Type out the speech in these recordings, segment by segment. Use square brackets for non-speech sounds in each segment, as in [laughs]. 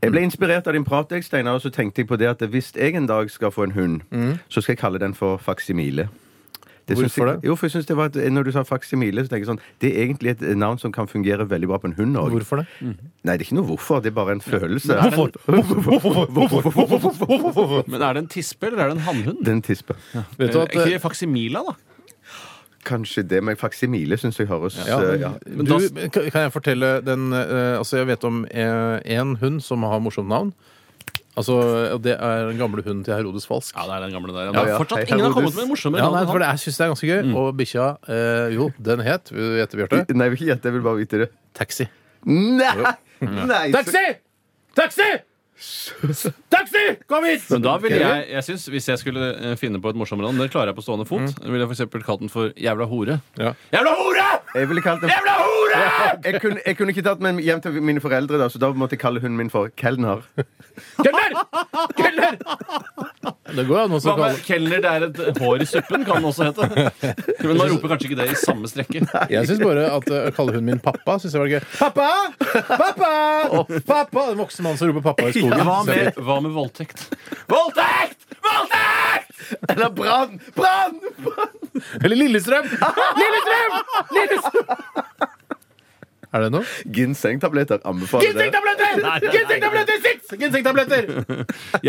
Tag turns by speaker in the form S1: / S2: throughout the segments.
S1: Jeg ble inspirert av din prat, jeg, Steinar, og så tenkte jeg på det at hvis jeg en dag skal få en hund, så skal jeg kalle den for faksimile. Det syns
S2: Hvorfor
S1: jeg,
S2: det?
S1: Jo, for jeg synes det var et, Når du sa faksimile, så tenker jeg sånn Det er egentlig et navn som kan fungere veldig bra på en hund òg.
S2: Hvorfor det?
S1: Nei, det er ikke noe hvorfor. Det er bare en følelse.
S2: Hvorfor?
S3: Men er det en tispe, eller er det en hannhund?
S1: Den tisper.
S2: Vet du
S3: Eh,
S2: at
S3: ikke faksimila, da?
S1: Kanskje det, men faksimile syns jeg høres
S2: ja,
S1: eh, ja.
S2: men du, kan kan jeg fortelle den eh, Altså, jeg vet om én hund som har morsomt navn. Altså, og Det er den gamle hunden til Herodes Falsk.
S3: Ja, det er den gamle der.
S1: ja.
S3: Fortsatt
S1: Hei,
S3: ingen har
S1: Herodes.
S3: kommet med en morsommere
S2: Ja, nei,
S3: navn enn
S2: for
S3: han. Mm.
S2: det jeg syns det er ganske gøy. Og bikkja eh, Jo, den het Vil du gjette, Bjarte?
S1: Nei, jeg vil ikke gjette. Jeg vil bare vite det.
S2: Taxi.
S1: Nei! Nei så-
S2: Taxi! Taxi! Kom hit!
S3: Men da ville jeg, jeg synes, Hvis jeg skulle eh, finne på et morsommere navn, det klarer jeg på stående fot,
S2: Mm.
S3: ville jeg for eksempel kalt den for Jævla hore.
S2: Ja.
S3: Jævla hore!
S1: Jeg ville kalt den
S3: Jævla hore!
S1: jeg kunne, jeg kunne ikke tatt med hjem til mine foreldre, da, så da måtte jeg kalle hunden min for kelner.
S2: Kelner! Kelner! Det går an å
S3: Hva
S2: kalle
S3: med Kelner, det er et hår i suppen, kan den også hete. Men man roper kanskje ikke det i samme strekke.
S2: Jeg syns bare at eh, å kalle hunden min pappa synes jeg var gøy. Pappa! Pappa! [laughs] Pappa! Den voksne mannen som roper pappa i skogen.
S3: Hva med, hva med voldtekt? Voldtekt! Voldtekt!
S1: Eller brann! Brann!
S2: Eller
S3: [laughs]
S2: Lillestrøm! Lillestrøm! Lillestrøm! Er det noe?
S1: Ginsengtabletter anbefaler det.
S2: Ginsengtabletter! Sitt!
S3: [laughs]
S2: Ginsengtabletter!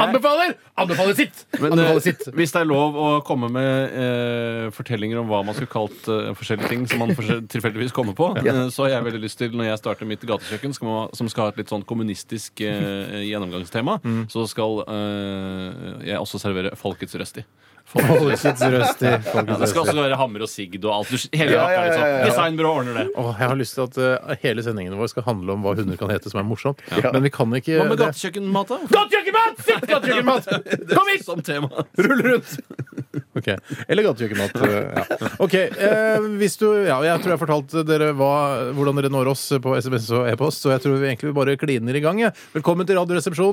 S2: Anbefaler! Anbefaler sitt!
S3: Men eh,
S2: Anbefaler sitt.
S3: hvis det er lov å komme med eh, fortellinger om hva man skulle kalt eh, forskjellige ting som man forskjell- tilfeldigvis kommer på, eh, så har jeg veldig lyst til, når jeg starter mitt gatekjøkken, skal man, som skal ha et litt sånn
S2: [laughs]
S3: kommunistisk eh, gjennomgangstema,
S2: Mm.
S3: så skal eh, jeg også servere Folkets Røsti. Folkets
S2: Anbefaler sitt røst i
S3: ja, det
S2: folkets
S3: skal
S2: røst.
S3: også være hammer og sigd og alt. Du, hele
S1: Ja, ja, ja,
S3: jakka,
S1: ja,
S3: liksom.
S1: ja.
S3: Designbyrå ordner det.
S2: Åh, jeg har lyst til at eh, hele sendingen vår skal handle om hva hunder kan hete, som er morsomt. Men vi kan ikke
S3: Hva med
S2: det-
S3: gatekjøkkenmat, da?
S2: Gatekjøkkenmat! Sitt gatekjøkkenmat!
S3: [laughs]
S2: Kom hit!
S3: Som tema.
S2: Rull rundt! Ok, Eller gatekjøkkenmat. eh, Ja. Ok, eh, hvis du, ja, Jeg tror jeg fortalte dere hva, hvordan dere når oss på SMS og e-post, så jeg tror vi egentlig bare kliner i gang. jeg. Velkommen til Radioresepsjonen.